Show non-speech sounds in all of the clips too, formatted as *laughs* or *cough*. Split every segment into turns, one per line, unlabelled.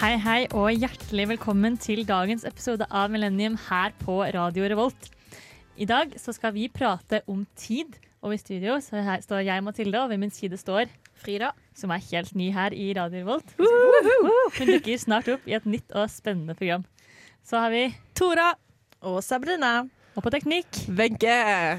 Hei, hei, og hjertelig velkommen til dagens episode av Millennium her på Radio Revolt. I dag så skal vi prate om tid, og i studio så her står jeg, Mathilde, og ved min side står
Frida.
som er helt ny her i Radio Revolt. Hun dukker snart opp i et nytt og spennende program. Så har vi
Tora. Og Sabrina.
Og på teknikk,
Wenche!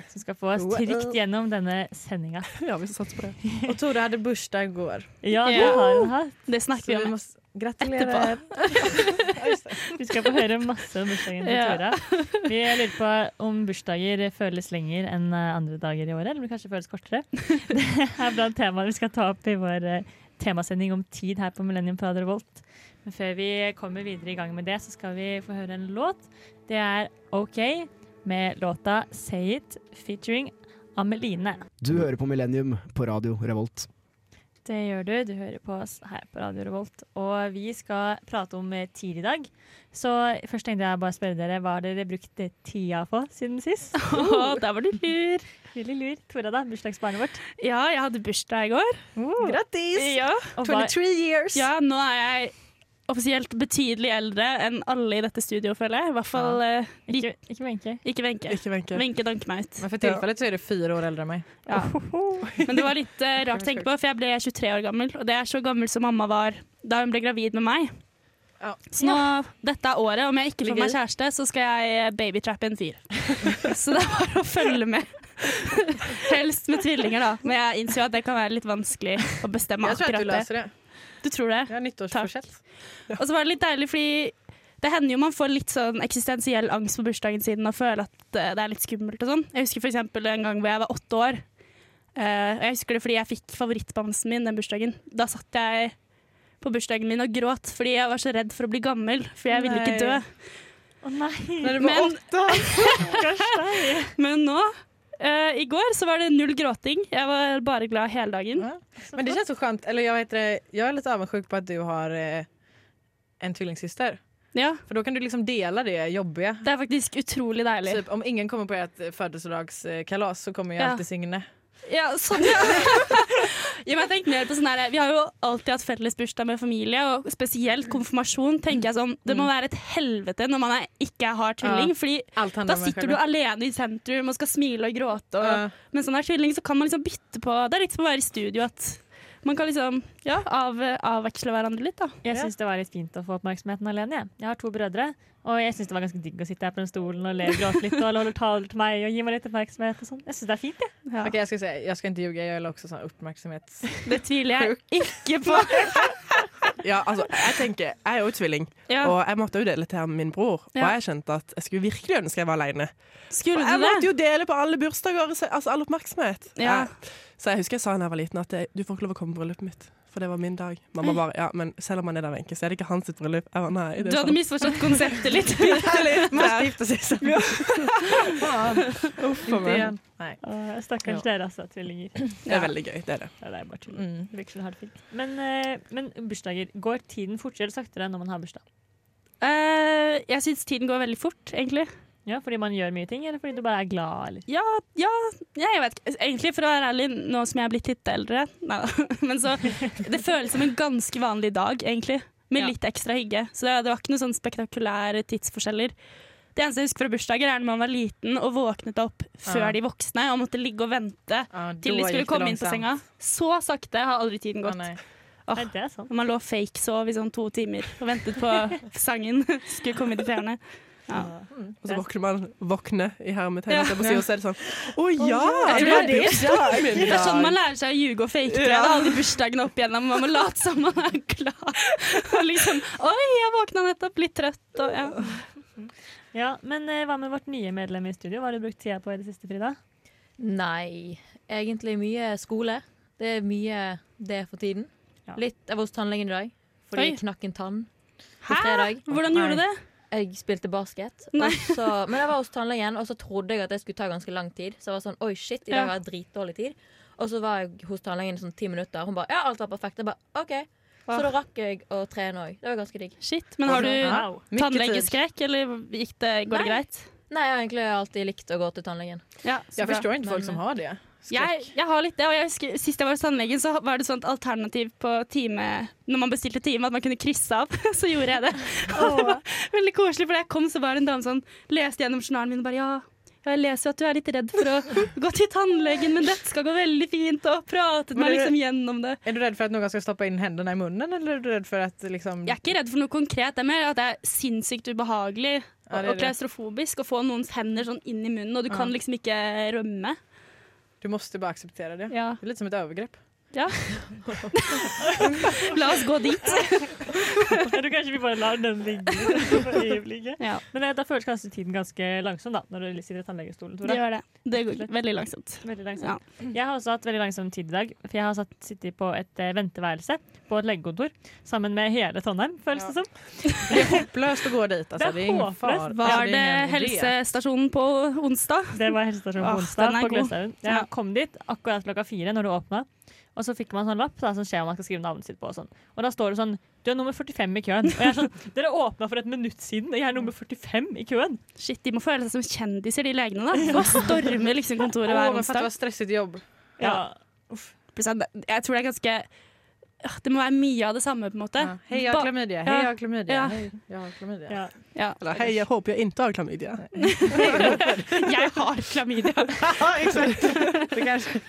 som skal få oss trygt gjennom denne sendinga.
Ja, vi satser på det.
Og Tora hadde bursdag i går.
Ja, det har hun hatt.
Det snakker vi om.
må s- gratulere.
*laughs*
Vi skal få høre masse om bursdagen til
Ja.
Tora. Vi lurer på om bursdager føles lenger enn eh, andre dager i året, eller om det kanskje føles kortere. Det er blant temaene vi skal ta opp i vår eh, temasending om tid her på Millennium på Radio Volt. Men før vi kommer videre i gang med det, så skal vi få høre en låt. Det er OK med låta Say It featuring Ameline.
Du hører på Millennium på radio Revolt.
Det gjør du. Du hører på oss her på Radio Revolt. Og vi skal prate om eh, tid i dag. Så først tenkte jeg bare å spørre dere, hva har dere brukt eh, tida på siden *laughs* sist?
*laughs* Å, der var du lur.
Veldig lur. Tora, da. Bursdagsbarnet vårt.
Ja, jeg hadde bursdag i går.
Grattis!
Ja.
Og hva,
23 years.
ja, nå er jeg offisielt betydelig eldre enn alle i dette studioet, føler jeg. I hvert fall eh,
ikke, ikke Wenche.
ikke Wenche.
Ikke Wenche.
Wenche danker meg ut.
Men for tilfellet så er du fire år eldre enn meg.
*laughs*
Ja. Men det var litt eh, rart å tenke på, for jeg ble 23 år gammel, og det er så gammel som mamma var da hun ble gravid med meg.
Ja.
Så nå, dette er året, om jeg ikke får
Ligger.
meg kjæreste, så skal jeg eh, babytrappe en fyr. *laughs* så det er bare å følge med. Helst med tvillinger, da. Men jeg innser jo at det kan være litt vanskelig å bestemme
Jeg tror at du
akkurat det.
løser det.
Du tror det?
Jeg har nyttårsforsett.
Og så var det litt deilig, fordi det hender jo man får litt sånn eksistensiell angst på bursdagen sin og føler at eh, det er litt skummelt og sånn. Jeg husker for eksempel en gang hvor jeg var åtte år. Eh, og jeg husker det fordi jeg fikk favorittbamsen min den bursdagen. Da satt jeg på bursdagen min og gråt fordi jeg var så redd for å bli gammel, for jeg ville ikke dø.
Nei.
Å nei!
Når du var
Men-
åtte!
Stakkars deg.
Men nå, eh, i går, så var det null gråting. Jeg var bare glad hele dagen.
Ja. Men det känns så skönt. Eller jag, vet det, jag är lite avundsjuk på att du har eh, en tvillingsyster.
Ja,
För då kan du liksom dela det jobbiga.
det er faktisk utrolig deilig.
Typ, om ingen kommer på ert eh, födelsedagskalas så kommer ju
Ja.
alltid Signe.
Ja, sånn, ja. *laughs* ja men jeg tenker mer på sånn her, Vi har jo alltid hatt felles bursdag med familie, og spesielt konfirmasjon. tenker jeg sånn, Det må
Mm.
være et helvete når man er, ikke har tvilling. fordi
Allt handlar
da
om en
sitter du alene i sentrum og skal smile og gråte. Og,
Ja.
Mens når man er tvilling, så kan man liksom bytte på Det er litt som å være i studio. at Man kan liksom ja, av, avveksle hverandre litt. da.
Jeg syns det var litt fint å få oppmerksomheten alene. Jeg, jeg har to brødre, og jeg syns det var ganske digg å sitte her på den stolen og le og gråte litt og alle holder taler til meg og gi meg litt oppmerksomhet og sånn. Jeg syns det er fint, jeg.
Ja.
Okej, jag ska säga, jag ska inte ljuga, jag är också sån uppmärksamhets...
*laughs*
Det tviler jeg ikke på.
*laughs* Ja, altså, jeg tenker, jeg er jo tvilling,
Ja,
og jeg måtte jo dele til han min bror. Og
Ja.
jeg kjente at jeg skulle virkelig ønske jeg var alene. Og
skulle
jeg
du
måtte
det?
jo dele på alle bursdager, så- altså all oppmerksomhet.
Ja.
Jeg- Så jeg husker jeg sa da jeg var liten at det, du får ikke lov å komme i bryllupet mitt. For det var min dag. Mamma bare ja, men selv om han er der Wenche, så er det ikke hans sitt bryllup. Jeg var nei, det
Mm. Du
er
hadde misforstått konseptet litt.
*laughs*
*laughs*
Måste gifta sig sen.
for meg.
igen. Nej.
Å, Stakkars dere, altså. Tvillinger.
Det er veldig gøy, det er det.
Ja, det er bare tull.
Mm.
Det virker som du har det fint. Men, eh, men bursdager, går tiden fortere eller saktere når man har bursdag?
Eh, jeg syns tiden går veldig fort, egentlig.
Ja, Fordi man gjør mye ting, eller fordi du bare er glad? Eller?
Ja, ja, ja, jeg vet ikke. Egentlig, for å være ærlig, nå som jeg er blitt litt eldre Neida. *laughs* Men så Det føles som en ganske vanlig dag, egentlig. Med
Ja.
litt ekstra hygge. Så det, det var ikke noen sånn spektakulære tidsforskjeller. Det eneste jeg husker fra bursdager, er når man var liten og våknet opp før
Ja.
de voksne og måtte ligge og vente
Ja,
til
då
de skulle
gick det
komme inn på
långsamt.
senga. Så sakte har aldri tiden
Ja,
gått.
nej.
Åh.
Nei, det er sant.
Og man lå fake-sov i sånn to timer og ventet på sangen *laughs* skulle komme i de fjerne. Ja.
Og så våkner man våkne i hermetegn,
Ja.
holdt jeg på å si, og så er det sånn Å ja!
Jeg
Det
tror
er bursdagen min!
Det er sånn man lærer seg å ljuge og fake. Ja. Alle bursdagene opp igjennom. Man må late som man er glad. Og liksom Oi, jeg våkna nettopp, litt trøtt og ja.
Ja, Men eh, hva med vårt nye medlem i studio? Hva har du brukt tida på i det siste, Frida?
Nei, egentlig mye skole. Det er mye det for tiden.
Ja.
Litt, Jeg var hos tannlegen i dag fordi
Oi.
jeg knakk en tann på
Hæ?
fredag.
Hvordan gjorde du det?
Jeg spilte basket.
Nei.
Og så, men jeg var hos tannlegen, og så trodde jeg at det skulle ta ganske lang tid. Så jeg var sånn, oi shit, i
Ja.
dag har jeg dritdårlig tid. Og så var jeg hos tannlegen i sånn ti minutter. Hun bare ja, alt var perfekt. Jeg bare OK. Så
Wow.
da rakk jeg å trene òg. Det var ganske digg.
Shit. Men har du
Wow. Mycket tid.
tannlegeskrekk, eller gikk det, går det greit?
Nei, jeg har egentlig alltid likt å gå til tannlegen.
Ja, så
Jag
bra.
förstår inte folk
Men-
som har det.
Jeg, jeg har litt det, og jeg husker Sist jeg var hos tannlegen, så var det sånt alternativ på time Når man bestilte time, at man kunne krysse av. *laughs* Så gjorde jeg det. Og *laughs* det var veldig koselig, for da jeg kom, så var det en dame sånn Leste gjennom journalen min og bare Ja, jeg leser jo at du er litt redd for å gå til tannlegen, men dette skal gå veldig fint, og pratet
Men
meg
er
liksom gjennom det.
Er du redd for att någon ska stoppa in händerna i munnen eller är du redd för att liksom...
Jeg er ikke redd for noe konkret, det er mer at det er sinnssykt ubehagelig
Ja, det er
og, og klaustrofobisk å få noens hender sånn inn i munnen, og du kan liksom ikke rømme.
Du måste bara acceptera det.
Ja.
Det är lite som ett *laughs* övergrepp.
La oss gå dit.
Jeg tror kanskje vi bare lar den ligge *laughs* for øyeblikket.
Ja,
Men eh, da føles kanskje tiden ganske langsom, da, når du sitter i tannlegestolen,
det
Tora.
gjør det. Det går veldig langsomt.
Veldig langsom. Jeg har også hatt veldig langsom tid i dag, for jeg har satt, sittet på et eh, venteværelse på et legekontor sammen med hele Trondheim, føles det som.
Hopplöst att gå dit. Alltså,
Det är
det är ingen
hopplöst.
fara.
Var
det
det
är ingen idé.
helsestasjonen på onsdag?
Det var helsestasjonen
Åh,
på onsdag
den er
på
god.
Gløshaugen. Jeg
Ja.
kom dit akkurat klokka fire når det åpna, og så fikk man sånn lapp da, som skjer om man skal skrive navnet sitt på. Og, sånn. og da står det sånn Du er nummer 45 i køen. Og jeg er sånn *laughs* Dere åpna for et minutt siden, og jeg er nummer 45 i køen.
Shit, de må føle seg som kjendiser, de legene. da. Og stormer liksom kontoret
Åh,
hver
men fatta
onsdag.
vad stressigt jobb.
Ja.
Pluss at Jeg tror det er ganske Åh, Det må være mye av det samme, på en måte.
Ja. Hej, jag har
Ba-
klamydia. Hej,
Ja.
jag har klamydia.
Ja.
Hej, jag har klamydia.
ja.
Eller hei, jeg håper jeg ikke har klamydia.
*laughs* Jeg har klamydia.
Ja, *laughs* exakt. Det, kanske...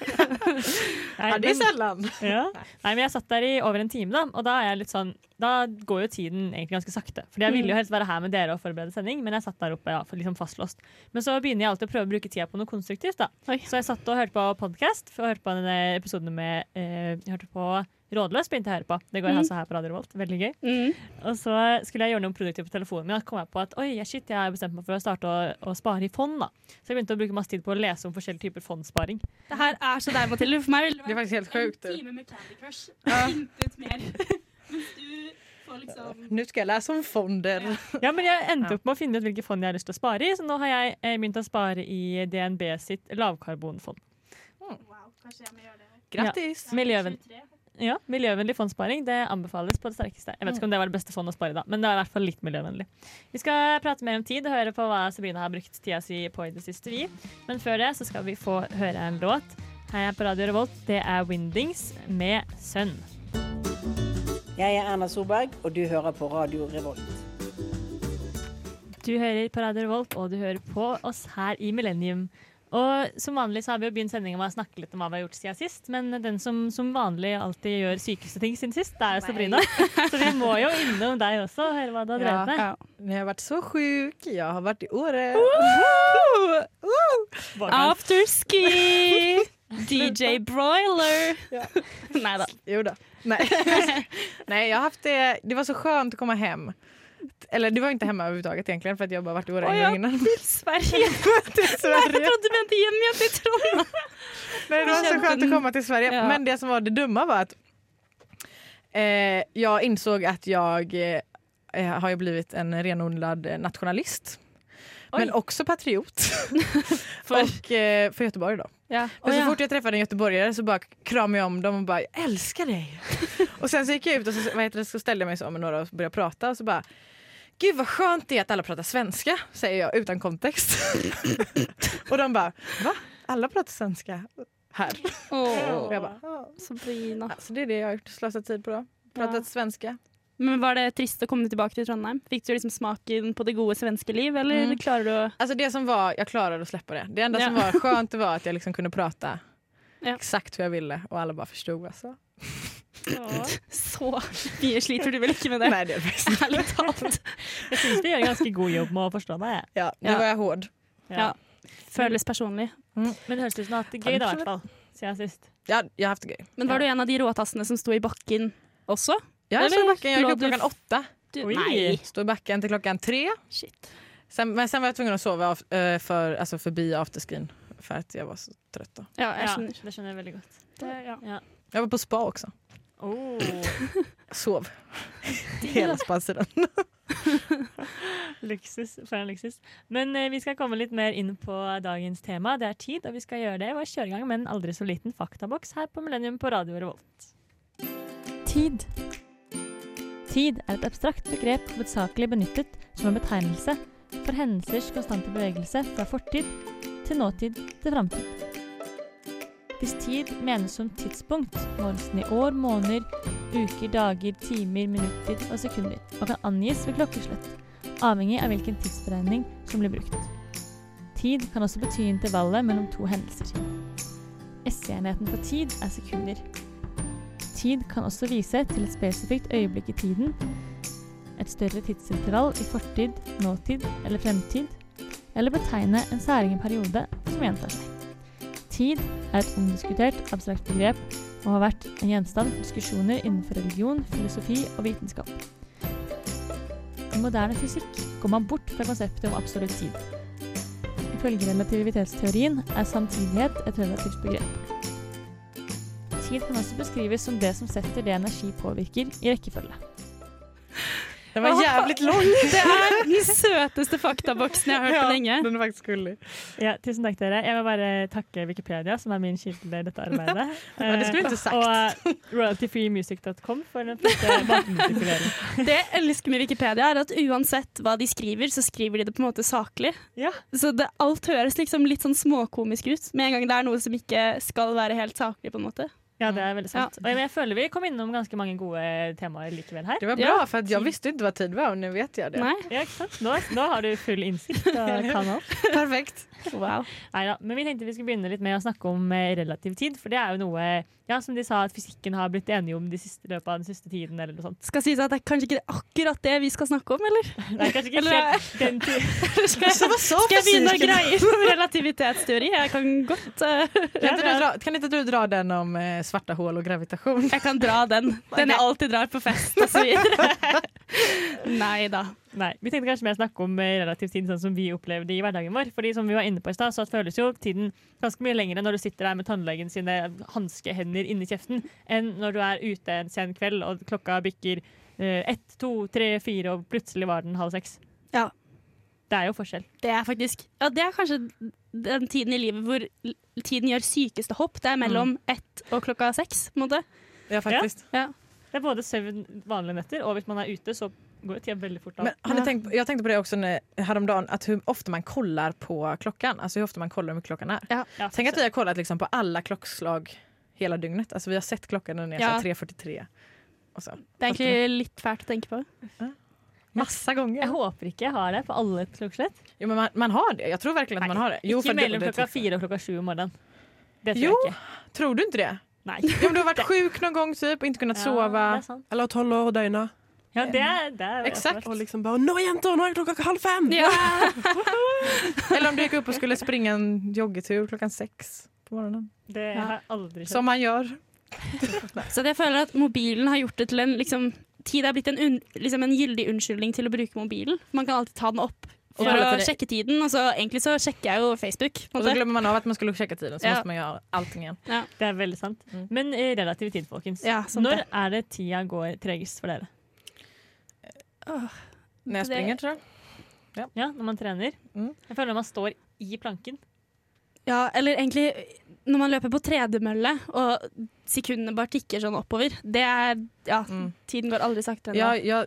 Nei,
ja, det är
men-
sällan.
*laughs*
Ja. Nei, men jeg satt der i over en time, da, og da er jeg litt sånn Da går jo tiden egentlig ganske sakte. Fordi jeg ville
Mm.
jo helst være her med dere og forberede sending, men jeg satt der oppe ja, for liksom fastlåst. Men så begynner jeg alltid å prøve å bruke tida på noe konstruktivt, da.
Oi.
Så jeg satt og hørte på podkast, og hørte på denne episoden med eh, Jeg hørte på Rådløs begynte jeg å høre på. Det går
Mm.
altså her på Radio Revolt. Veldig gøy.
Mm.
Og så skulle jeg gjøre noe produktivt på telefonen min, og så kom jeg på at oi, jeg- shit, jeg har bestemt meg for å starte å, å spare i fond, da. Så jeg begynte å bruke masse tid på å lese om forskjellige typer fondssparing.
Det her er så deg, Mathilde. For meg vil
Det är
det
faktiskt helt
være en
sjukt.
time med Candy Crush. *laughs* Intet mer. Mens du får liksom
Nu ska jag läsa om fonder.
Ja, men jeg endte opp med å finne ut hvilke fond jeg har lyst til å spare i, så nå har jeg eh, begynt å spare i DNB sitt lavkarbonfond.
Wow, kanskje jeg må gjøre det.
Grattis!
Miljøven,
23.
ja, Mm. miljøvennlig fondsparing det anbefales på det sterkeste. Jeg vet ikke om det var det beste fondet å spare i, da, men det er i hvert fall litt miljøvennlig. Vi skal prate mer om tid og høre på hva Sabrina har brukt tida si på i det siste, vi. Men før det så skal vi få høre en låt. Her er på Radio Revolt, det er Windings med Sønn.
Jeg er Erna Solberg, og du hører på Radio Revolt.
Du hører på Radio Revolt, og du hører på oss her i Millennium. Og som vanlig så har vi jo begynt sendingen med å snakke litt om hva vi har gjort siden sist, men den som som vanlig alltid gjør sykeste ting siden sist, det er jo Sabrina. *laughs* Så vi må jo innom deg også og høre hva du har
Ja.
drevet med.
Ja.
Men jag har varit så sjuk. Jag har varit i Åre.
Hvordan-
*laughs*
*laughs* Afterski! DJ Broiler! *laughs* Nei da.
Jo då. *laughs* Nej. Nej, jag har haft det. Det var så skönt att komma hem. Eller det var inte hemma överhuvudtaget egentligen för att jeg bara varit i Åre
Å
en
ja.
gång
*laughs*
innan.
Sverige.
Till
Jeg
Sverige.
trodde du mente hjem igjen til Trondheim.
Nej, det var så
Kämpen.
skönt att komma till Sverige.
Ja.
Men det som var det dumma var att eh, jag insåg att jag eh, har ju blivit en renodlad eh, nationalist. Men också patriot.
*laughs* För?
Och, eh, för Göteborg då.
Ja.
Men så fort jag träffade en göteborgare så bara kramade jag om dem och bara jag älskar dig.
*laughs*
och sen så gick jag ut och så, vad heter det, så ställde jag mig så med några och så började prata och så bara Gud vad skönt det är att alla pratar svenska, säger jag utan
*laughs*
kontext. och de bara va? Alla pratar svenska här. Och jag bara, "Ja."
Sabrina.
Så det är det jag har gjort, slösat tid på då. Pratat
Ja.
svenska.
Men Var det trist å komme tilbake til Trondheim? Fikk du liksom smaken på det gode svenske liv, eller
Mm.
klarer du å
Alltså det som var, jag klarade att släppa det. Det enda
Ja.
som var skönt det var att jag liksom kunde prata
Ja.
exakt hur jag ville og alla bara förstod. Alltså.
Så mye sliter du vel ikke med det?
Nej, det är det bästa.
*laughs* Ærlig talt.
Jeg syns du gjør en ganske god jobb med å forstå deg. jeg.
Ja, nu
Ja.
var jag hård.
Ja. Føles personlig.
Men det høres ut som du har hatt det gøy, da, i hvert fall. Siden sist.
Ja, jag har haft det gøy.
Men var du en av de råtassene som sto i bakken også?
Ja, jag
Eller
står i backen. Jag gick upp
låter-
klockan åtta.
Du,
Oi.
nei.
Står i backen till klockan tre.
Shit.
Sen, men sen var jag tvungen att sova av, eh, för, alltså förbi afterscreen för att jag var så trött. Då.
Ja, jeg
Ja,
skjønner.
det skjønner jeg veldig godt.
Det, ja.
Jag var på spa også.
Oh.
*laughs*
*laughs*
Sov. Hela spasidan.
Luksus for en luksus. Men eh, vi skal komme litt mer inn på dagens tema. Det er tid, og vi skal gjøre det ved å kjøre i gang med en aldri så liten faktaboks her på Millennium på Radio Revolt. Tid. Tid er et abstrakt begrep hovedsakelig benyttet som en betegnelse for hendelsers konstante bevegelse fra fortid til nåtid til framtid. Faktisk tid menes som tidspunkt, målelsen i år, måneder, uker, dager, timer, minutter og sekunder, og kan angis ved klokkeslett, avhengig av hvilken tidsberegning som blir brukt. Tid kan også bety intervallet mellom to hendelser. SE-enheten for tid er sekunder. Tid kan også vise til et spesifikt øyeblikk i tiden, et større tidsintervall i fortid, nåtid eller fremtid, eller betegne en særegen periode som gjentar seg. Tid er et omdiskutert, abstrakt begrep og har vært en gjenstand for diskusjoner innenfor religion, filosofi og vitenskap. I moderne fysikk går man bort fra konseptet om absolutt tid. Ifølge relativitetsteorien er samtidighet et relativt begrep. Tid kan også beskrives som det som setter det energi påvirker, i rekkefølge.
Den var
*laughs*
jävligt lång.
Det er den søteste faktaboksen jeg har hørt på lenge.
Den är faktiskt gullig.
Ja, tusen takk, dere. Jeg vil bare takke Wikipedia, som er min kilde i dette arbeidet.
*laughs* Ja, det skulle du ikke sagt.
Eh, Og royaltyfreemusic.com for den
*laughs*
flotte bakmusikuleringen.
Det jeg elsker med Wikipedia, er at uansett hva de skriver, så skriver de det på en måte saklig.
Ja.
Så det, alt høres liksom litt sånn småkomisk ut med en gang det er noe som ikke skal være helt saklig, på en måte.
ja, det er veldig sant. Og jeg, men jeg føler vi kom innom ganske mange gode temaer likevel her.
Det var bra,
Ja.
för att jag visste inte vad tid var och nu vet jag det.
Nei?
Ja, ikke sant? Nå, nå har du full innsikt og kan alt.
*laughs* Perfekt.
Wow.
Neida, men vi tenkte vi skulle begynne litt med å snakke om eh, relativ tid, for det er jo noe ja, som de sa at fysikken har blitt enige om de siste, i løpet av den siste tiden, eller noe sånt.
Skal sies at det er kanskje ikke akkurat det vi skal snakke om, eller?
Det er kanskje ikke
Eller-
helt den ti-
Skal jeg,
Vad sa
skal jeg begynne å
fysiken?
greie på relativitetsteori? Jeg kan godt eh,
Kan inte, du dra, kan inte du dra den om eh, svarta hål och gravitation?
*laughs* Jeg kan dra den. Den jeg alltid drar på fest og så videre. *laughs* Nei da.
Nei, Vi tenkte kanskje mer snakke om eh, relativ tid, sånn som vi opplevde i hverdagen vår. Fordi som vi var inne på i sted, så føles jo tiden ganske mye lengre når du sitter der med tannlegen sine hanskehender inni kjeften, enn når du er ute en sen kveld og klokka bikker eh, ett, to, tre, fire, og plutselig var den halv seks.
Ja.
Det er jo forskjell.
Det er faktisk Ja, det er kanskje den tiden i livet hvor l- tiden gjør sykeste hopp. Det er mellom
Mm.
ett og klokka seks, på en måte.
Ja, faktiskt.
Det er både søvn vanlige netter, og hvis man er ute, så går jo tida veldig fort av.
Men har ni tänkt, på- jag tänkte på det också när, häromdagen, att hur ofta man kollar på klockan. Alltså hur ofta man kollar hur mycket klockan är.
ja,
Tänk att
så-
vi har kollat liksom, på alla klockslag hela dygnet. Alltså, vi har sett klockan när den är
Ja.
så här 3.43. Och så.
Det er egentlig litt fælt å tenke på.
Massa
jeg
gånger.
håper ikke jeg har det på alle klokkeslett.
Jo, men man, man har det. Jag tror verkligen att man har det. Jo,
Ikke
för det-
mellom
det-
klokka fire og klokka sju om morgenen. Det tror
Jo.
jeg ikke.
Tror du inte det?
Nei.
Jo, men du har varit sjuk någon gång typ och inte kunnat
Ja, det
sova.
er sant.
Eller tolv år og døgna.
Ja, det er, det er
Exakt.
Og liksom bare 'Nå, jenter! Nå er klokka halv fem!'
Eller om du gick upp och skulle springa en joggetur klockan sex på morgonen.
Det har jeg aldri skjønt.
Som man gör.
Så jeg føler at mobilen har gjort det til en liksom, Tid er blitt en, un, liksom en gyldig unnskyldning til å bruke mobilen. Man kan alltid ta den opp for
Ja,
å sjekke tiden. Og så egentlig så sjekker jeg jo Facebook. På
Och
en
så
måte.
glömmer man av att man skulle checka tiden så
Ja.
måste man göra allting igen.
Det er veldig sant.
Mm.
Men eh, relativ tid, folkens.
Ja, sant
Når
det.
er det tida går tregest for dere?
När jag
Det-
springer tror jag.
Ja, Når man trener?
Mm.
Jeg føler man står i planken.
Ja, eller egentlig når man løper på tredemølle og sekundene bare tikker sånn oppover. Det er Ja,
Mm.
tiden går aldri saktere enn
Ja,
det.
jag,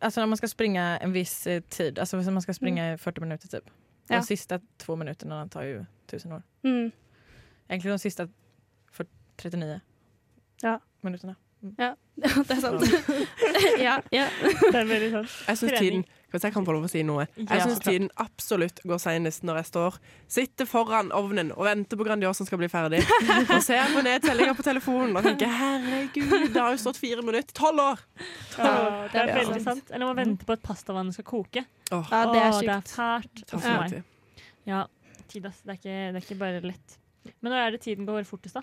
alltså när man ska springa en viss eh, tid, alltså när man ska springa i 40 minuter typ. De
Mm. Ja.
sista två minuterna tar ju tusen år.
Mm.
Egentligen de sista för 39
Ja.
minuterna.
*laughs* Ja, det er sant. ja, ja.
Det er veldig sant.
Jeg syns
Trening.
tiden Hvis jeg kan få lov å si noe.
Ja.
Jeg synes tiden absolutt går senest når jeg står Sitter foran ovnen og venter på Grandiosa som skal bli ferdig. Og ser på nedtellinga på telefonen og tenker 'herregud, det har jo stått fire minutter'. Tolv år!
*laughs* Ja, det er
det er
veldig sant. Eller man venter på at pastavannet skal koke.
Åh,
ja det er
Å, det
sjukt.
er fælt.
tar
for
for
meg.
lang tid.
Ja, tid, ass. Det er, ikke, det er ikke bare lett. Men når er det tiden går fortest, da?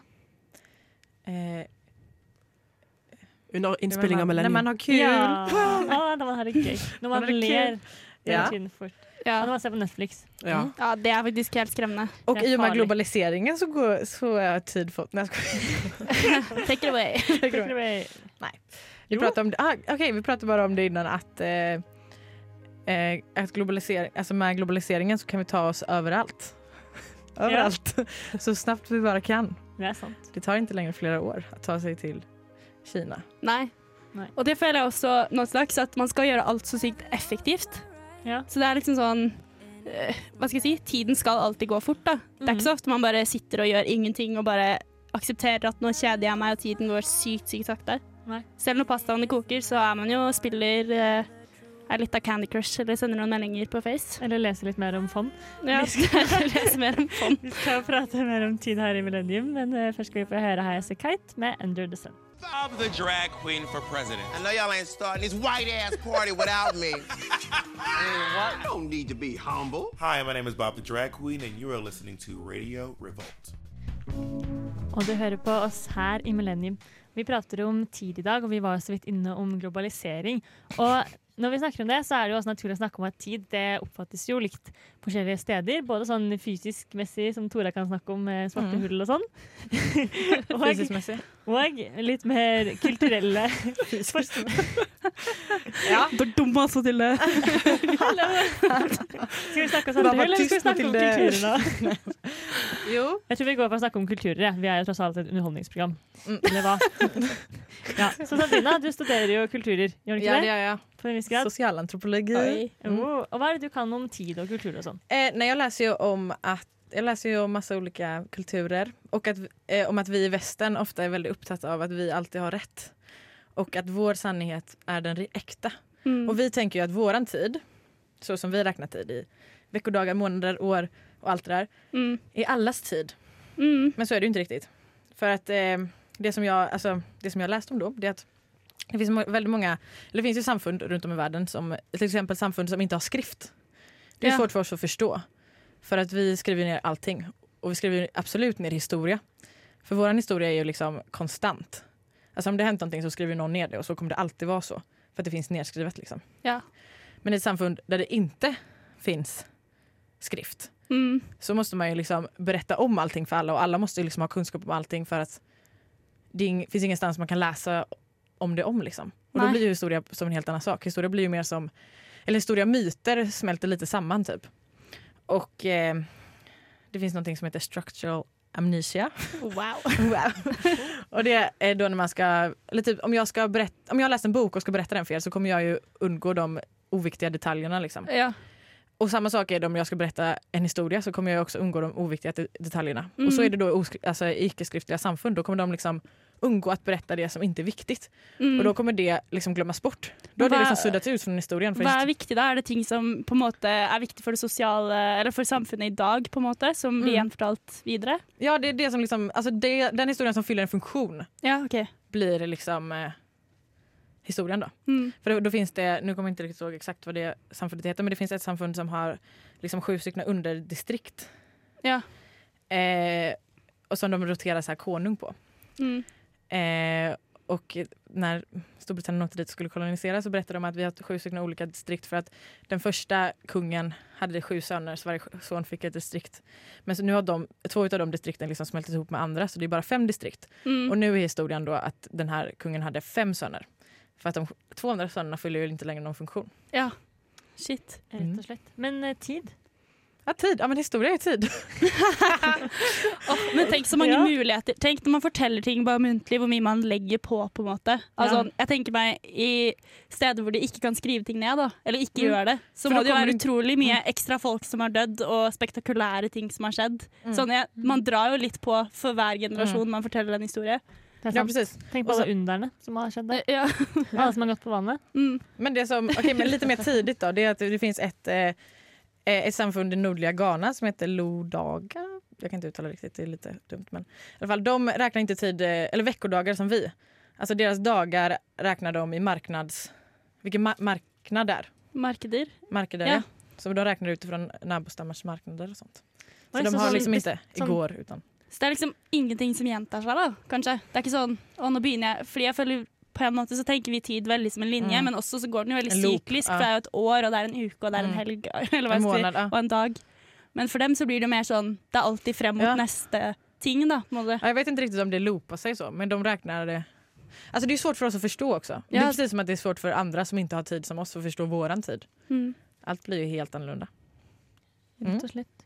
Eh,
Under
när,
innspillinga
man,
med
när man
Lenny.
har kul.
Ja. Ah, når man har det gøy. Når man
Når det er
ler. Det
Ja.
er tiden fort.
Ja.
Ja, når man ser på Netflix.
Ja.
ja, det er faktisk helt skremmende.
Och
Det är
i och med
farligt.
globaliseringen så, går, så har tid fått... Nej, jag skojar.
Take it away.
Jag skojar.
*laughs*
Vi
Jo.
pratade, om det, ah, okej, vi pratade bara om det innan att, eh, eh, att globalisering, alltså med globaliseringen så kan vi ta oss överallt. överallt. Så snabbt vi bara kan.
Det er sant.
Det tar inte längre flera år att ta sig till Kina.
Nei.
Nei.
Og det føler jeg også nå til dags, at man skal gjøre alt så sykt effektivt.
Ja.
Så det er liksom sånn Mhm.
Mm.
eh, Hva skal jeg si? Tiden skal alltid gå fort, da. Det er ikke så ofte man bare sitter og gjør ingenting og bare aksepterer at nå kjeder jeg meg, og tiden går sykt, sykt sakte.
Nei.
Selv når pastaene koker, så er man jo spiller eh, er litt av Candy Crush eller sender noen meldinger på Face.
Eller lese litt mer om fond.
*laughs* Ja. Vi skal lese mer om fond.
Vi skal prate mer om tid her i Millennium, men eh, først skal vi få høre Highas a Kite med Under the Sun.
Bob the drag queen for president.
I know y'all ain't starting this white ass party without me. I Don't need to be humble.
Hi, my name is Bob the drag queen, and you are listening to Radio Revolt.
Og du hører på oss her i Millennium. Vi prater om tid i dag, og vi var jo så vidt inne om globalisering. Og når vi snakker om det, så er det jo også naturlig å snakke om at tid det oppfattes jo likt forskjellige steder. Både sånn fysisk messig, som Tora kan snakke om eh, svarte hull og *laughs* sånn. og,
Fysiskmessig.
og litt mer kulturelle
Du er dum, altså, Tilde.
Skal vi snakke om svarte hull, eller skal vi snakke om kulturer nå?
Jo.
Jeg tror vi går for å snakke om kulturer. Ja. Vi er jo tross alt et underholdningsprogram.
Mm.
Eller
*laughs*
hva? ja. Så Sabrina, du studerer jo kulturer, gjør du ikke
Ja,
det?
ja, ja.
På en viss grad.
Sosialantropologi. Mm.
Oh, og hva er det du kan om tid og kultur og sånn?
Eh, nej, jag läser ju om att jag läser ju om massa olika kulturer och att, eh, om att vi i västern ofta är väldigt upptagna av att vi alltid har rätt. Och att vår sannhet är den re- äkta.
Mm.
Och vi tänker ju att våran tid, så som vi räknar tid i veckodagar, månader, år och allt det där,
Mm.
är allas tid.
Mm.
Men så är det ju inte riktigt. För att eh, det, som jag, alltså, det som jag läst om då, det är att det finns må- väldigt många, eller det finns ju samfund runt om i världen som, till exempel samfund som inte har skrift. Det är
Ja.
svårt för oss att förstå. För att vi skriver ner allting. Och vi skriver ju absolut ner historia. För vår historia är ju liksom konstant. Alltså om det har hänt någonting så skriver någon ner det och så kommer det alltid vara så. För att det finns nedskrivet liksom.
Ja.
Men i ett samfund där det inte finns skrift
Mm.
så måste man ju liksom berätta om allting för alla och alla måste ju liksom ha kunskap om allting för att det är ing- finns ingenstans man kan läsa om det om. Liksom. Och då
Nej.
blir ju historia som en helt annan sak. Historia blir ju mer som, eller historia och myter smälter lite samman typ. Och eh, det finns någonting som heter structural amnesia.
Wow.
*laughs* Wow. och det är då när man ska, eller typ om jag ska berätta, om jag har läst en bok och ska berätta den för er så kommer jag ju undgå de oviktiga detaljerna liksom.
Ja.
Och samma sak är det om jag ska berätta en historia så kommer jag också undgå de oviktiga det- detaljerna.
Mm.
Och så är det då i oskri- alltså, i icke-skriftliga samfund, då kommer de liksom undgå att berätta det som inte är viktigt.
Mm.
Och då kommer det liksom glömmas bort. Då har
Vad-
det liksom suddats ut från historien. För
Hva er viktig da? Er det ting som på en måte er viktig for det sosiale, eller for samfunnet i dag, på en måte, som blir
Mm.
gjenfortalt videre?
ja, det är det som liksom, alltså det, den historien som fyller en funktion
Ja, OK.
blir liksom eh, historien då.
Mm.
För då, då finns det, nu kommer jag inte riktigt ihåg exakt vad det samfundet heter, men det finns ett samfund som har liksom sju stycken underdistrikt.
Ja.
Eh, och som de roterar så här konung på.
Mm.
Eh, och när Storbritannien åkte dit och skulle kolonisera så berättade de att vi har sju stycken olika distrikt för att den första kungen hade sju söner så varje son fick ett distrikt. Men så nu har de, två av de distrikten liksom smält ihop med andra så det är bara fem distrikt.
Mm.
Och nu är historien då att den här kungen hade fem söner. För att de två andra sönerna fyller ju inte längre någon funktion.
Ja. Shit.
Rett og slett. Men eh, tid?
Ja, tid. Ja, men historia är tid.
Men tenk så mange
Ja.
muligheter. Tenk når man forteller ting bare muntlig, hvor mye man legger på. på en måte. Altså, Jeg tenker meg i steder hvor de ikke kan skrive ting ned, da, eller ikke gjør det,
Mm.
så
For
må
da
det jo
kommer Mm.
være
du-
utrolig mye ekstra folk som har dødd, og spektakulære ting som har skjedd.
Mm.
Sånn, jeg, man drar jo litt på for hver generasjon man forteller en historie.
Det er
Ja,
sant.
precis.
Tenk på
Og så- Eh,
alle underne som har skjedd der.
Ja.
*laughs* Alle som har gått på vannet.
Mm.
Men det som, okej, men lite mer tidigt då, det är att det finns ett, eh, ett samfund i nordliga Ghana som heter Lodaga. Jag kan inte uttala riktigt, det är lite dumt. Men i alla fall, de räknar inte tid, eh, eller veckodagar som vi. Alltså deras dagar räknar de i marknads... Vilken ma- marknad det är.
Markeder.
Marknader,
Ja.
ja. Så de räknar utifrån nabostammars marknader och sånt. Så
Oi,
de
så
har
sånn-
liksom inte
sånn-
igår utan...
Så det er liksom ingenting som gjentar seg, da, kanskje. Det er ikke sånn å, nå begynner jeg Fordi jeg føler på en måte så tenker vi tid veldig som en linje,
Mm.
men også så går den jo veldig
En loop,
syklisk,
ja.
for det er jo et år, og det er en uke, og det er en
Mm.
helg, *laughs* eller hva
En
jeg skal si,
månad, ja.
og en dag. Men for dem så blir det jo mer sånn Det er alltid frem mot
Ja.
neste ting, da. På en måte.
Ja, Jag vet inte riktigt om det loopar sig så, men de räknar det. Alltså det är svårt för oss att förstå också. Det
Ja.
är precis som att det är svårt för andra som inte har tid som oss att förstå våran tid.
Mm.
Allt blir ju helt annorlunda. Mm.
Rett og slett.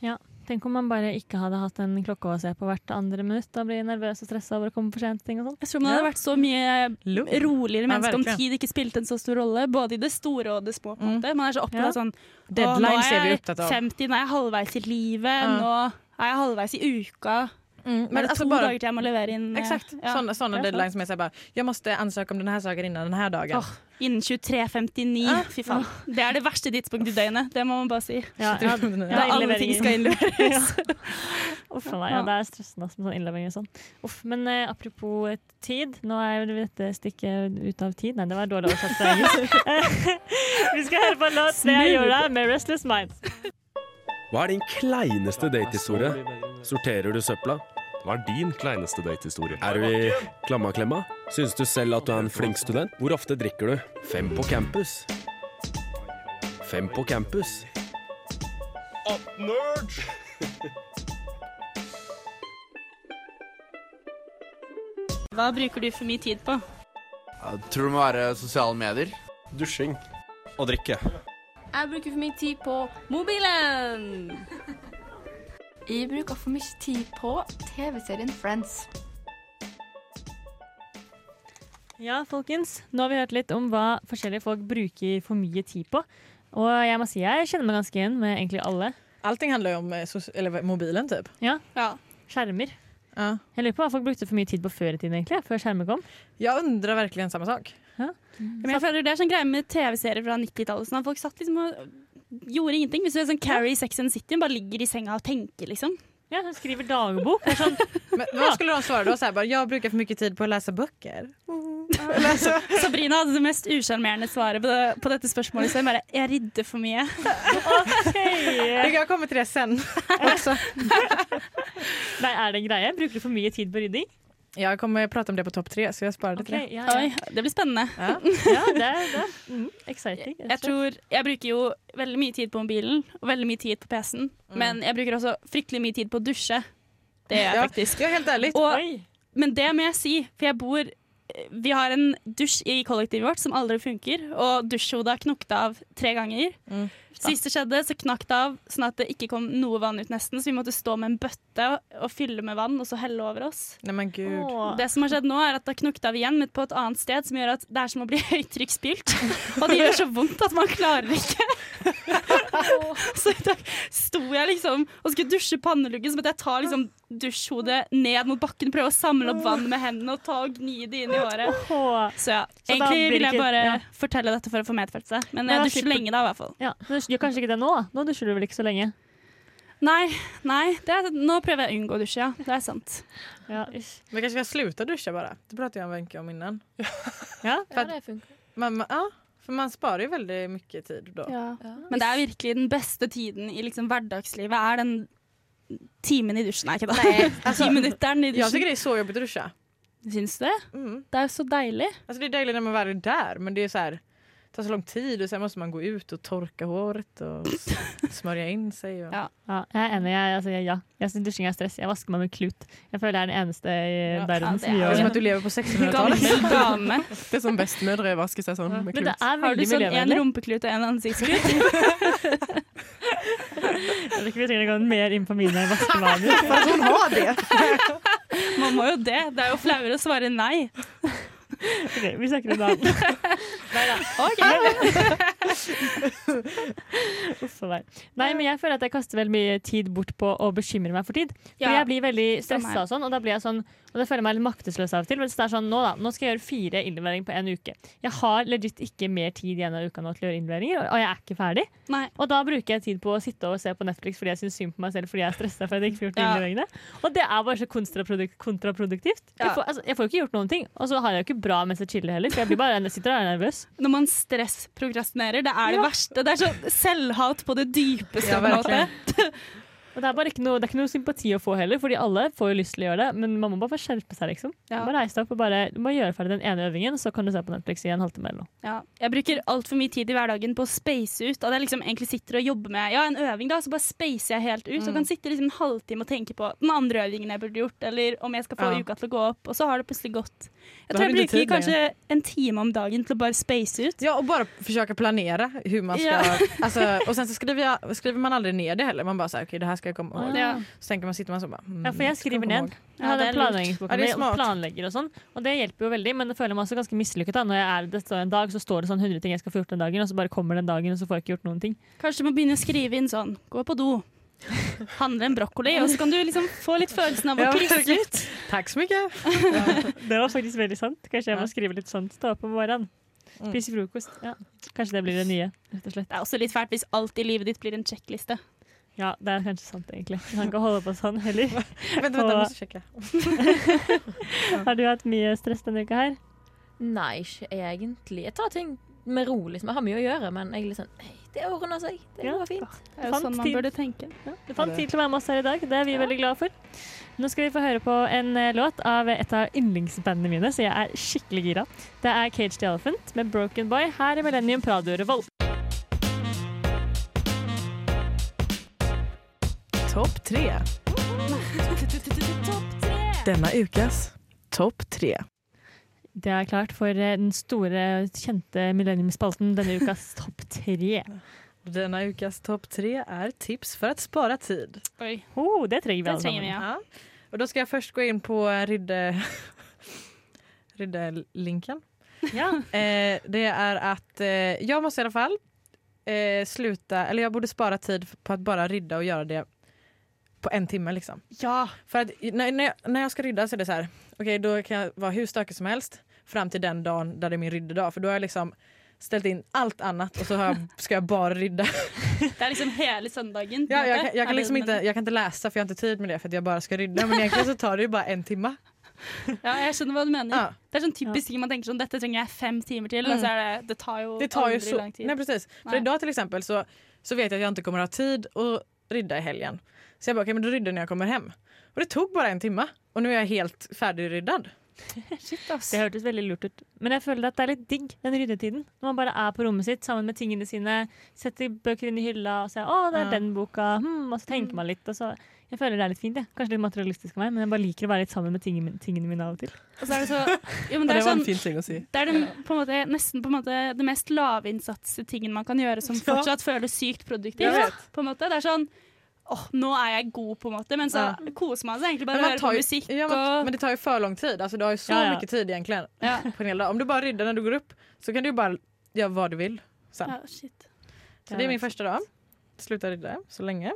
Ja. Tenk om man bare ikke hadde hatt en klokke å se på hvert andre minutt. Da blir jeg nervøs og stressa over å komme for sent. ting og sånn.
Jeg tror man hadde vært så mye
Lugn.
roligere menneske om
virkelig.
tid ikke spilte en så stor rolle, både i det store og det små. på en
Mm.
måte. Man er så opptatt
Ja.
av sånn
Deadlines er vi opptatt av.
Nå er jeg 50, nå er jeg halvveis i livet,
Ja.
nå er jeg halvveis i uka.
Mm,
Men altså,
men alltså
to
bara,
dager til jeg må levere inn eh,
exakt,
ja.
sådana, sådana
Ja,
deadlines som är såhär bara, jag måste ansöka om den här saken innan den här dagen.
Åh, Innen 23.59.
Ah.
Fy faen. Det er det verste tidspunktet i døgnet. Det må man bare si.
Ja, ja,
Da alle ting skal innleveres.
*laughs* Uff, nei, ja, det er stressende altså, med sånn innlevering og sånn. Uff, men eh, apropos eh, tid, nå er jo dette stikket ut av tid. Nei, det var dårlig oversatt fra engelsk. Eh, *laughs* Vi skal høre på en låt det jeg gjør med Restless Minds.
Hva er din kleineste datehistorie? Sorterer du søpla? Hva er din kleineste datehistorie? Er du i klammaklemma? Syns du selv at du er en flink student? Hvor ofte drikker du? Fem på campus. Fem på campus.
Hva bruker du for mye tid på?
Tror det må være sosiale medier. Dusjing.
Og drikke.
Jeg bruker for mye tid på mobilen. Jeg bruker for mye tid på TV-serien Friends.
Ja, folkens, nå har vi hørt litt om hva forskjellige folk bruker for mye tid på. Og jeg må si jeg kjenner meg ganske igjen med egentlig alle.
Allting handlar ju om eh, soci- eller, mobilen typ.
Ja. Skjermer.
Ja.
Jeg lurer på hva folk brukte for mye tid på før i tiden, egentlig. Før skjermer kom.
Jag undrar verkligen samma sak.
Men jeg føler Det er sånn greie med TV-serier fra 90-tallet. Sånn at folk satt liksom og gjorde ingenting. Hvis du er sånn Carrie i Sex and the City, hun bare ligger i senga og tenker, liksom.
Ja, hun skriver dagbok. Det er sånn *laughs*
*laughs*
Men, vad skulle de svara då? Så här, bara, jag brukar för mycket tid på att läsa böcker.
Sabrina hadde det mest usjarmerende svaret på, det, på dette spørsmålet. Så jeg bare Jeg rydder for mye. Eh.
Det kan komma till det
*laughs*
sen *laughs* också.
Nei, er det en greie? Bruker du for mye tid på rydding?
Jag kommer prata om det på topp tre så jag sparade till
Ok,
det.
ja, ja.
Oi, det blir spennende.
ja det er, det er mm, exciting. rett og
Jeg
slett.
tror Jeg bruker jo veldig mye tid på mobilen og veldig mye tid på PC-en.
Mm.
Men jeg bruker også fryktelig mye tid på å dusje. Det gjør jeg
Ja,
faktisk.
ja, helt ärligt.
Og
Oi.
Men det må jeg si, for jeg bor Vi har en dusj i kollektivet vårt som aldri funker, og dusjhodet har knokt av tre ganger.
Mm.
Sist det skjedde, så knakk det av sånn at det ikke kom noe vann ut, nesten. Så vi måtte stå med en bøtte og fylle med vann, og så helle over oss.
Nej men gud.
Åh.
Det som har skjedd nå, er at det har knokt av igjen, men på et annet sted, som gjør at det er som å bli *laughs* høytrykksspylt. Og det gjør så vondt at man klarer ikke.
*laughs*
Så i dag sto jeg liksom og skulle dusje panneluggen, så måtte jeg ta liksom dusjhodet ned mot bakken, prøve å samle opp vann med hendene og ta og gni det inn i håret.
Åh.
Så ja,
Så da blir
egentlig
det
vil jeg
ikke-
bare
ja.
fortelle dette for å få medfølelse. Men
Ja,
jeg dusjer
slipper-
lenge da, i hvert fall.
Ja, men du gjør kanskje ikke det nå? da? Nå dusjer du vel ikke så lenge?
Nei, nei, det er, nå prøver jeg å unngå å dusje, ja. Det er sant.
Ja, ish.
Men kanske ska jag sluta duscha bara. Det pratade jag med Wenche om innan. *laughs*
Ja.
Ja, det funker.
Man, man- ja, för man sparar ju väldigt mycket tid då.
Ja.
Men det er virkelig den beste tiden i liksom hverdagslivet er den timen i dusjen, er ikke det?
altså,
*laughs* Ti minutteren i
Jag tycker
dusjen.
det är så jobbigt att duscha.
Syns du det?
Mm.
Det er jo så deilig.
Alltså det är dejligt när man väl är där men det är så här, det tar så lång tid och sen måste man gå ut och torka håret och s- smörja in sig. Och...
Ja.
Ja, jeg er enig. Jeg, altså, jeg, ja. jeg syns dusjing er stress. Jeg vasker meg med klut. Jeg føler jeg er den eneste i
Ja,
verden
ja, det
som
Det är
gjør
som
det.
att du lever på 1600-talet.
Gammel dame.
Det er sånn bestemødre vasker seg sånn med
Men det er
klut.
Har du
veldig
sånn en
miljøvennlig.
rumpeklut og en ansiktsklut?
Jeg tror ikke vi trenger å gå mer inn på
*laughs*
mine vaskevaner.
För att hon har det.
Man må jo det. Det er jo flauere å svare nei.
Ok, vi snakker om det annet.
Ok.
*laughs* Uff, nei. Nei, men jeg føler at jeg kaster veldig mye tid bort på å bekymre meg for tid. For
Ja.
jeg blir veldig stressa
Samme her.
og sånn, og da blir jeg sånn Og da føler jeg meg litt maktesløs av og til. Men hvis det er sånn, nå da, nå skal jeg gjøre fire innleveringer på en uke. Jeg har legit ikke mer tid igjen av uka nå til å gjøre innleveringer, og- og jeg er ikke ferdig.
Nei.
Og da bruker jeg tid på å sitte og se på Netflix fordi jeg syns synd på meg selv fordi jeg er stressa. For at jeg ikke får gjort de
Ja.
innleveringene. Og det er bare så kontraprodukt, kontraproduktivt. Jeg,
Ja.
får, altså, jeg får jo ikke gjort noen ting, og så har jeg jo ikke bra mens jeg chiller heller. For jeg blir bare jeg sitter og er nervøs.
Når man stressprokrastinerer, det er det verste. Det er så selvhat på det dypeste.
Ja,
på en måte.
Og det er bare ikke noe, det er ikke noe sympati å få heller, fordi alle får jo lyst til å gjøre det, men man må bare få skjerpe seg, liksom.
Ja.
Bare reise deg opp og bare, du må gjøre ferdig den ene øvingen, så kan du se på Netflix i en halvtime eller noe.
Ja. Jeg bruker altfor mye tid i hverdagen på å space ut. At jeg liksom egentlig sitter og jobber med ja, en øving, da, så bare spacer jeg helt ut.
Mm.
Og kan sitte liksom en halvtime og tenke på den andre øvingen jeg burde gjort, eller om jeg skal få
Ja.
uka til å gå opp. Og så har det plutselig gått. Jeg
Da
tror
har
jeg
du ikke
bruker
tid lenger.
kanskje en time om dagen til å bare space ut.
Ja, och bara försöka planera hur man ska...
Ja.
Alltså, och sen så skriver, jag, skriver man aldrig ner det heller. Man bara så här, okej det här ska jag komma ihåg.
Ja.
Så tänker man, sitter man så bara... mm,
Ja, for jeg
det ska
skriver
komma
ned.
ihåg.
Jeg har
Ja,
den
det er lurt.
planleggingsboka
Ja, det er
mi og
smart.
planlegger og sånn, og det hjelper jo veldig, men det føler meg også ganske mislykket da, når jeg er det står en dag, så står det sånn 100 ting jeg skal få gjort den dagen, og så bare kommer den dagen, og så får jeg ikke gjort noen ting.
Kanskje man begynner å skrive inn sånn gå på do, Handle en brokkoli, og så kan du liksom få litt følelsen av å
Ja,
klisse
virkelig.
litt.
Tack så mycket.
Det var faktisk veldig sant. Kanskje jeg må skrive litt sånt. Stå opp om morgenen, spise frokost. Mm. Ja. Kanskje det blir det nye, rett og slett.
Det er også litt fælt hvis alt i livet ditt blir en sjekkliste.
Ja, det er kanskje sant, egentlig. Vi kan ikke holde på sånn heller.
Vänta, vänta, jag
Og-
måste checka.
Har du hatt mye stress denne uka her?
Nei, ikke egentlig. Jeg tar ting med ro. liksom. Jeg har mye å gjøre, men jeg er litt sånn «Ei, Det ordner seg. Det
Ja.
går fint.
Det er jo sånn man burde tenke.
Du fant tid til å være med oss her i dag. Det er vi veldig glade for. Nå skal vi få høre på en eh, låt av et av yndlingsbandene mine, så jeg er skikkelig gira. Det er Cage the Elephant med Broken Boy her i Millennium Prado Revolt.
Topp tre. Denna ukas topp tre.
Det er klart for eh, den store, kjente millenniumspalten denne ukas topp tre.
Denna ukas topp tre er tips for att spara tid.
Oi.
Oh, det trenger vi
Det
alle
trenger
sammen.
vi, ja.
Och då ska jag först gå in på eh, Rydde... *laughs* Rydde-linken.
Ja.
Eh, det är att eh, jag måste i alla fall eh, sluta, eller jag borde spara tid på att bara rydda och göra det på en timme liksom.
Ja.
För att när, när, jag, när jag ska rydda så är det så här, okej då kan jag vara hur stökig som helst fram till den dagen där det är min ryddedag för då har jag liksom ställt in allt annat och så har jag, ska jeg bare rydda.
Det er liksom hele søndagen. på
Ja,
en
jag,
måte.
kan- jag, kan
Er det
liksom
den-
inte, jag kan inte läsa för jag har inte tid med det för att jag bara ska rydda men egentligen så tar det ju bara en timme.
Ja, jeg skjønner hva du mener.
Ja. Mm.
Det er sånn typisk ting man tenker sånn, dette trenger jeg fem timer til, og så er det, det tar jo
Det tar ju
aldri
så,
lang tid.
nej, precis. För
Nej.
idag till exempel så, så vet jag att jag inte kommer att ha tid att rydda i helgen. Så jag bara, okej men då ryddar jag när jag kommer hem. Och det tog bara en timme och nu är jag helt färdigryddad.
Det hørtes veldig lurt ut. Men jeg føler at det er litt digg, den ryddetiden. Når man bare er på rommet sitt sammen med tingene sine, setter bøker inn i hylla og ser å, det er
Ja.
den boka, hmm, og så tenker man litt. Og så, jeg føler det er litt fint. jeg. Kanskje litt materialistisk av meg, men jeg bare liker å være litt sammen med tingene, tingene mine av og til.
Og så er det
*laughs*
så jo, men
Ja,
det, er
det var
sånn,
en fin ting å si.
det er det, på en måte, nesten på en måte det mest lavinnsatsingen man kan gjøre som
Ja.
fortsatt føles sykt produktivt.
Jeg vet.
På en måte. Det er sånn åh, nå er jeg god, på en måte, men så
Ja.
koser man seg egentlig bare
Men,
og
man
hører
tar
på
ju,
musikk
ja, men,
og
men det tar ju för lång tid. Alltså, du har ju så
Ja, ja.
mycket tid egentligen
Ja.
på en hel dag. Om du bara riddar när du går upp så kan du ju bara göra vad du vill. Sen.
ja, shit.
Så det är min första dag. Sluta rida så länge.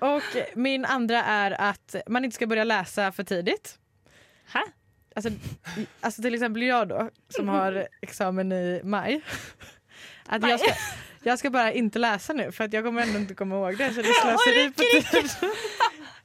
Och min andra är att man inte ska börja läsa för tidigt.
Hä?
Alltså, alltså till exempel jag då som har examen i maj. Att jag, ska, jag ska bara inte läsa nu för att jag kommer ändå inte komma ihåg det. Så det är slöseri på tid.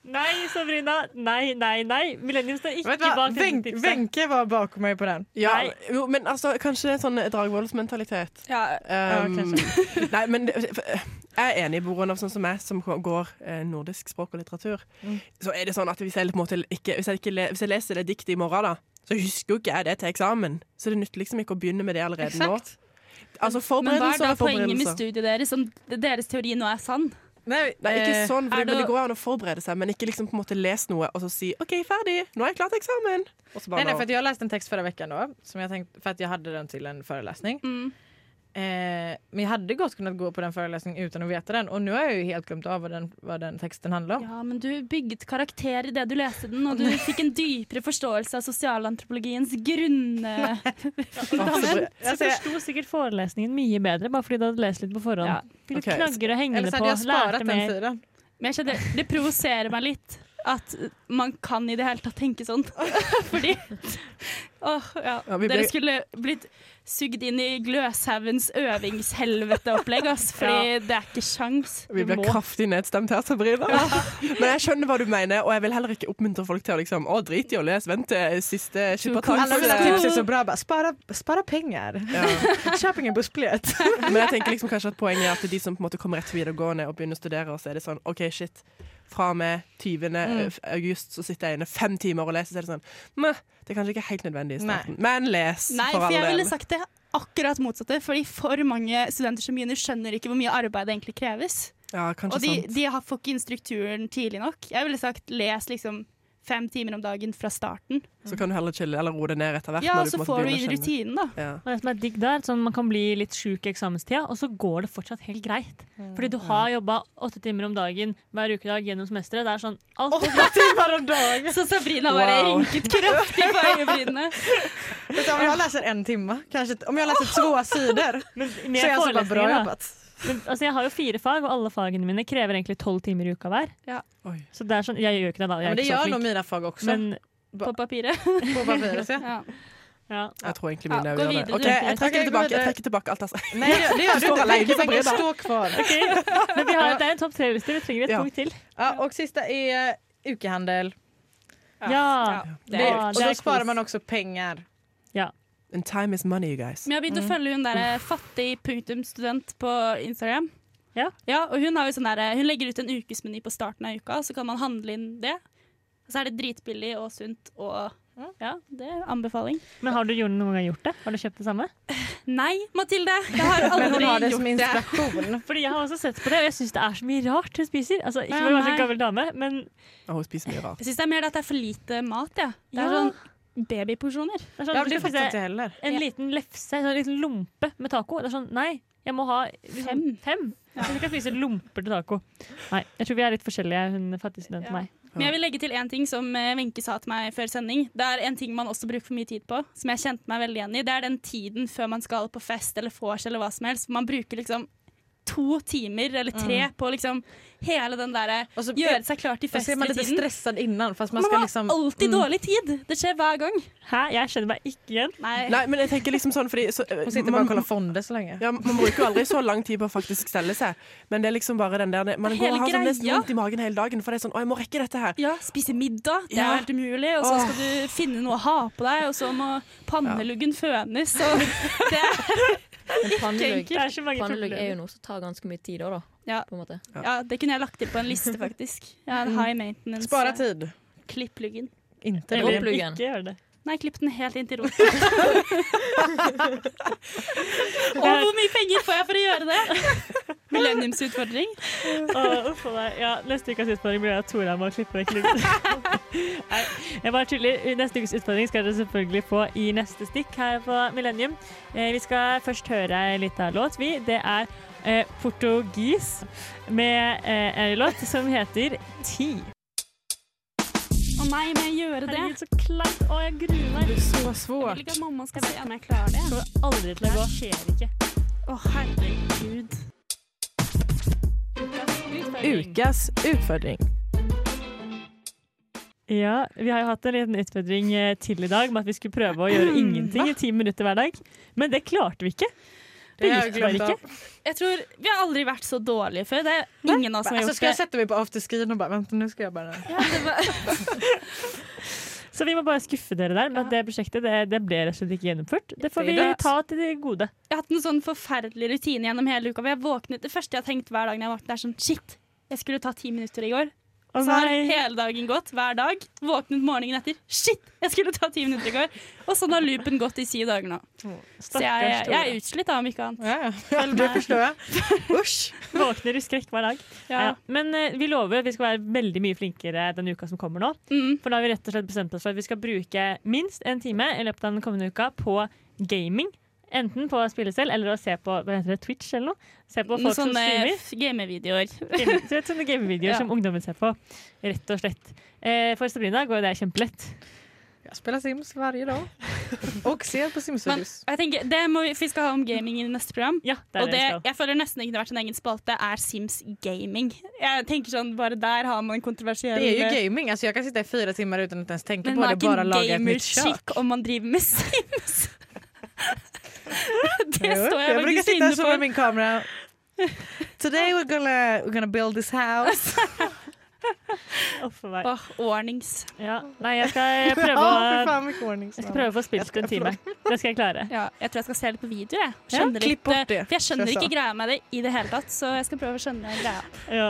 Nei, Sabrina. Nei, nei, nei. Millennium står ikke
Vet du hva?
bak dette
Wenche-
tipset.
Wenche var bakom meg på den.
Ja, jo, men altså, kanskje det er sånn dragvollsmentalitet. Um, *laughs* nei, men det, for, eh, jeg er enig i Borunn, sånn som meg, som går eh, nordisk språk og litteratur.
Mm.
Så er det sånn at hvis jeg, på en måte, ikke, hvis jeg, ikke le, hvis jeg leser det diktet i morgen, da, så husker jo ikke jeg det til eksamen. Så det nytter liksom ikke å begynne med det allerede
Exakt.
nå. Altså
Men hva er
sånn
forberedelser
da
og
poenget med
forberedelser.
studiet deres om deres teori nå er sann?
Eh, Nej,
Nei, ikke sånn, for
Er
det, men
det-
det går an å forberede seg, men ikke liksom på en måte lese noe og så si OK, ferdig, nå er jeg klar til eksamen. Og
Nej,
så bare
nej,
nå.
för att jag läste en text förra veckan då, som jag tänkte, för att jag hade den till en föreläsning.
Mm.
Eh, men jag hade gott kunnat gå på den föreläsningen utan att veta den och nu har jag ju helt glömt av vad den, vad den texten handlar om.
Ja, men du bygget karakter i det du leste den, og du fikk en dypere forståelse av sosialantropologiens grunn... *laughs*
Men så forsto sikkert forelesningen mye bedre, bare fordi du hadde lest litt på forhånd.
Ja.
Fikk
Ok.
knagger å henge
Eller
det
så
på.
hade jag sparat
Lærte
den
mer.
sidan.
Men jeg skjønner, det provoserer meg litt at man kan i det hele tatt tenke sånn. *laughs* Fordi åh, ja.
Ja, vi ble-
Dere skulle blitt sugd inn i Gløshaugens øvingshelveteopplegg,
*laughs*
ass. Fordi det er ikke sjans.
Vi blir kraftig nedstemt her, Sabrina. *laughs* Men jeg skjønner hva du mener, og jeg vil heller ikke oppmuntre folk til å liksom Å, drit i å lese, vent til siste
Alla mina
skippertak.
tips är så bra, bara spara, spara pengar. *laughs* Köp ingen bussbiljett. *laughs*
Men jeg tenker liksom kanskje at poenget er at de som på en måte kommer rett til videregående og begynner å studere, og så er det sånn OK, shit. Fra og med 20.
Mm.
august så sitter jeg inne fem timer og leser, så er det sånn Meh, det er kanskje ikke helt nødvendig i starten. Men les,
Nei,
for
for jeg
all
ville
del.
sagt det akkurat motsatte. Fordi for mange studenter som begynner, skjønner ikke hvor mye arbeid det egentlig kreves.
Ja,
Og
kanskje sånn.
de,
sant.
de har, får ikke inn strukturen tidlig nok. Jeg ville sagt les liksom fem timer om dagen fra starten.
Så kan du heller chille eller roe det ned etter hvert.
Ja,
når
så
på en måte
får du inn
begynner å kjenne.
rutinen, da.
Ja.
Og det som er digg da, er at sånn, Man kan bli litt sjuk i eksamenstida, og så går det fortsatt helt greit.
Mm,
Fordi du har jobba åtte timer om dagen hver ukedag gjennom semesteret. Det er sånn alt er greit.
timmar om dagen.
Så Sabrina bare
Wow.
rynket kraftig på øyebrynene.
Vet du, Om jag läser en timme, kanske, om jag läser två sidor
Men
*laughs* så är
med
jag så bara bra
forelesninger, da.
jobbat.
Men, altså, jeg har jo fire fag, og alle fagene mine krever egentlig tolv timer i uka hver. Så det er sånn, jeg gjør ikke det da. Jeg er
Ja, men det
ikke så
gjør
flink.
nå mine fag også.
Men
På papiret.
På papiret, *laughs* ja.
Ja.
Jeg tror egentlig mine
Ja,
er
gå
uavhengige.
videre,
OK,
du.
jeg trekker
Ok, gå
tilbake, jeg
videre.
trekker tilbake alt, altså.
Nei, det, det gjør du
Stå
ikke.
alene
Tenk
på
å
bredda.
stå kvar.
Men vi har, det er en topp tre-liste. Vi trenger et
Ja.
punkt til.
Ja, og siste er eh, ukehandel.
Ja. Ah, Ja,
Det,
det er-
og
det
da
er
sparer
kos.
man også penger.
And time is money, you guys.
Men jeg har begynt å følge hun der eh, fattig punktum student på Instagram.
Ja.
og hun, har jo sånn der, eh, hun legger ut en ukesmeny på starten av uka, så kan man handle inn det. Og så er det dritbillig og sunt og Ja, det er anbefaling.
Men har du Jorunn, noen gang gjort det? Har du kjøpt det samme?
Nei, Mathilde! Jeg har
Men hun
aldri
har det
gjort
som
inspirasjon.
Fordi jeg har også sett på det, og jeg syns det er så mye rart hun spiser. Altså, ikke for
Ja,
å være
nei.
en gammel dame, men
Og hun spiser mye rart.
Jeg syns det er mer det at det er for lite mat, Ja. Det er
Ja.
sånn babyporsjoner.
det er sånn, du skal spise En liten lefse, en sånn liten lompe med taco. Det er sånn, nei, jeg må ha liksom, fem. Jeg skal ikke spise lomper til taco. Nei, jeg tror vi er litt forskjellige, hun fattige studenten og meg.
Men jeg vil legge til en ting som eh, Wenche sa til meg før sending. Det er en ting man også bruker for mye tid på, som jeg kjente meg veldig igjen i. Det er den tiden før man skal på fest eller vors eller hva som helst. hvor Man bruker liksom to timer eller tre
Mm.
på liksom hele den derre gjøre seg klar til
Da
fest
ser man
i
litt
tiden.
stressad innan. Fast man
Man,
skal
har
liksom,
alltid
mm.
dårlig tid! Det skjer hver gang.
Hæ? Jeg skjønner meg ikke igjen.
Nei.
Nei, men jeg tenker liksom sånn fordi så,
Man sitter bare og kaller fondet så lenge.
Ja, Man bruker jo aldri så lang tid på å faktisk stelle seg, men det er liksom bare den der Man
Det er
går og
hele
har sånn nesten
greia.
vondt i magen hele dagen, for det er sånn Å, jeg må rekke dette her.
Ja, spise middag. Det
Ja.
er helt umulig. Og så
Åh.
skal du finne noe å ha på deg, og så må panneluggen fønes. Og
*laughs*
det er
*laughs*
ikke
Pannelugg
enkelt.
er, er jo noe som tar ganske mye tid òg, da.
Ja.
På en måte.
Ja, det kunne jeg lagt til på en liste, faktisk. Ja, en
Mm.
high maintenance.
Spare
tid.
Klipp luggen.
Inntil
Eller pluggen. ikke
gjør det.
Nei, klipp den helt inntil *laughs* rota. Og hvor mye penger får jeg for å gjøre det? Millenniumsutfordring.
Å, uff a meg. Ja, neste ukas utfordring blir at Tora må klippe vekk *laughs* luggen. Nei, jeg bare tuller. Neste ukes utfordring skal dere selvfølgelig få i neste stikk her på Millennium. Eh, vi skal først høre ei lita låt, vi. Det er eh, portugis med eh, ei låt som heter Ti.
Å nei, må jeg gjøre det?
Herregud, så kleint. Å, jeg gruer meg.
Det er
så
Jeg vil ikke at mamma skal se om jeg klarer det.
Kommer aldri til å gå. skjer ikke.
Å, herregud.
Ukas utfordring.
Ja, vi har jo hatt en liten utfordring eh, til i dag med at vi skulle prøve å gjøre ingenting i ti minutter hver dag. Men det klarte vi ikke. Det gikk bare ikke.
Jeg tror Vi har aldri vært så dårlige før. Det er ingen av oss som har
Altså,
gjort
skal jeg
det.
sette meg på afterscreen og bare Vent, nå skal jeg bare
Så vi må bare skuffe dere der med at det prosjektet det, det ble rett og slett ikke gjennomført. Det får vi
Det-
ta til det gode.
Jeg har hatt en sånn forferdelig rutine gjennom hele uka. hvor Jeg våknet, det første jeg har tenkt hver dag når jeg våknet, er sånn Shit, jeg skulle ta ti minutter i går.
Å,
så har
nei.
hele dagen gått, hver dag. Våknet morgenen etter. Shit, jeg skulle ta ti minutter i går. Og sånn har loopen gått i si dager nå. Så jeg,
Stakkars Tore.
jeg er utslitt, da, om ikke annet.
*laughs*
Følg
Det
meg.
forstår jeg. Usch.
Våkner i skrekk hver dag.
Ja.
Neida. Men eh, vi lover at vi skal være veldig mye flinkere den uka som kommer nå.
Mm.
For da har vi rett og slett bestemt oss for at vi skal bruke minst en time i løpet av den kommende uka på gaming. Enten på spille selv eller å se på hva heter det, Twitch eller noe. Se på
Noen
folk som
sånne *laughs*
streamer.
f- gamevideoer.
Game- så det er Sånne gamevideoer
Ja.
som ungdommen ser på. Rett og slett. Eh, For Sabrina går jo det kjempelett.
Jeg spiller Sims hver dag. Og ser på
Men
Sims-videos.
jeg tenker, det må vi, for vi skal ha om gaming i neste program.
det er
og
det
det,
vi skal.
jeg føler nesten ikke det har vært en egen spalte, er Sims gaming. Jeg tenker sånn, Bare der har man en kontroversiell
Det er jo gaming. Altså, jeg kan sitte i fire timer uten å ens tenke
Men
på det.
man er
Bare
ikke
lage et nytt kjøkken. *laughs*
gamerskikk om man driver med Sims. det står jeg
Jeg bruker
faktisk
sitte
inne
og sove
for.
med min *laughs* kamera. Today we're gonna, we're gonna build this house.
Uff a meg.
Åh, ordnings.
Ja. Nei, jeg
*laughs*
skal prøve
Å,
å,
fy faen, hvilken ordning som
jeg
er.
skal prøve å få spilt en time. Det skal jeg klare.
Ja, jeg tror jeg skal se litt på video. Jeg,
Ja,
Skjønner
klipp bort
litt,
det,
for jeg skjønner
tror jeg
ikke
sa.
greia med det i det hele tatt, så jeg skal prøve å skjønne greia.
Ja.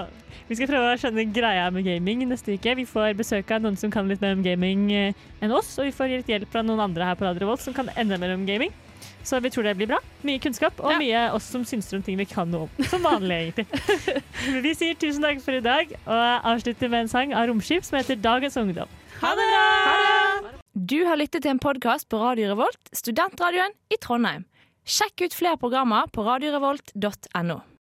Vi skal prøve å skjønne greia med gaming neste uke. Vi får besøk av noen som kan litt mer om gaming eh, enn oss, og vi får litt hjelp fra noen andre her på Radio Revolt som kan enda mer om gaming. Så vi tror det blir bra. Mye kunnskap, og mye oss som synser om ting vi kan noe om. Som vanlig, egentlig. vi sier tusen takk for i dag, og avslutter med en sang av Romskip som heter Dagens ungdom.
Ha det bra! Du har lyttet til en podkast på Radio Revolt, studentradioen i Trondheim. Sjekk ut flere programmer på radiorevolt.no.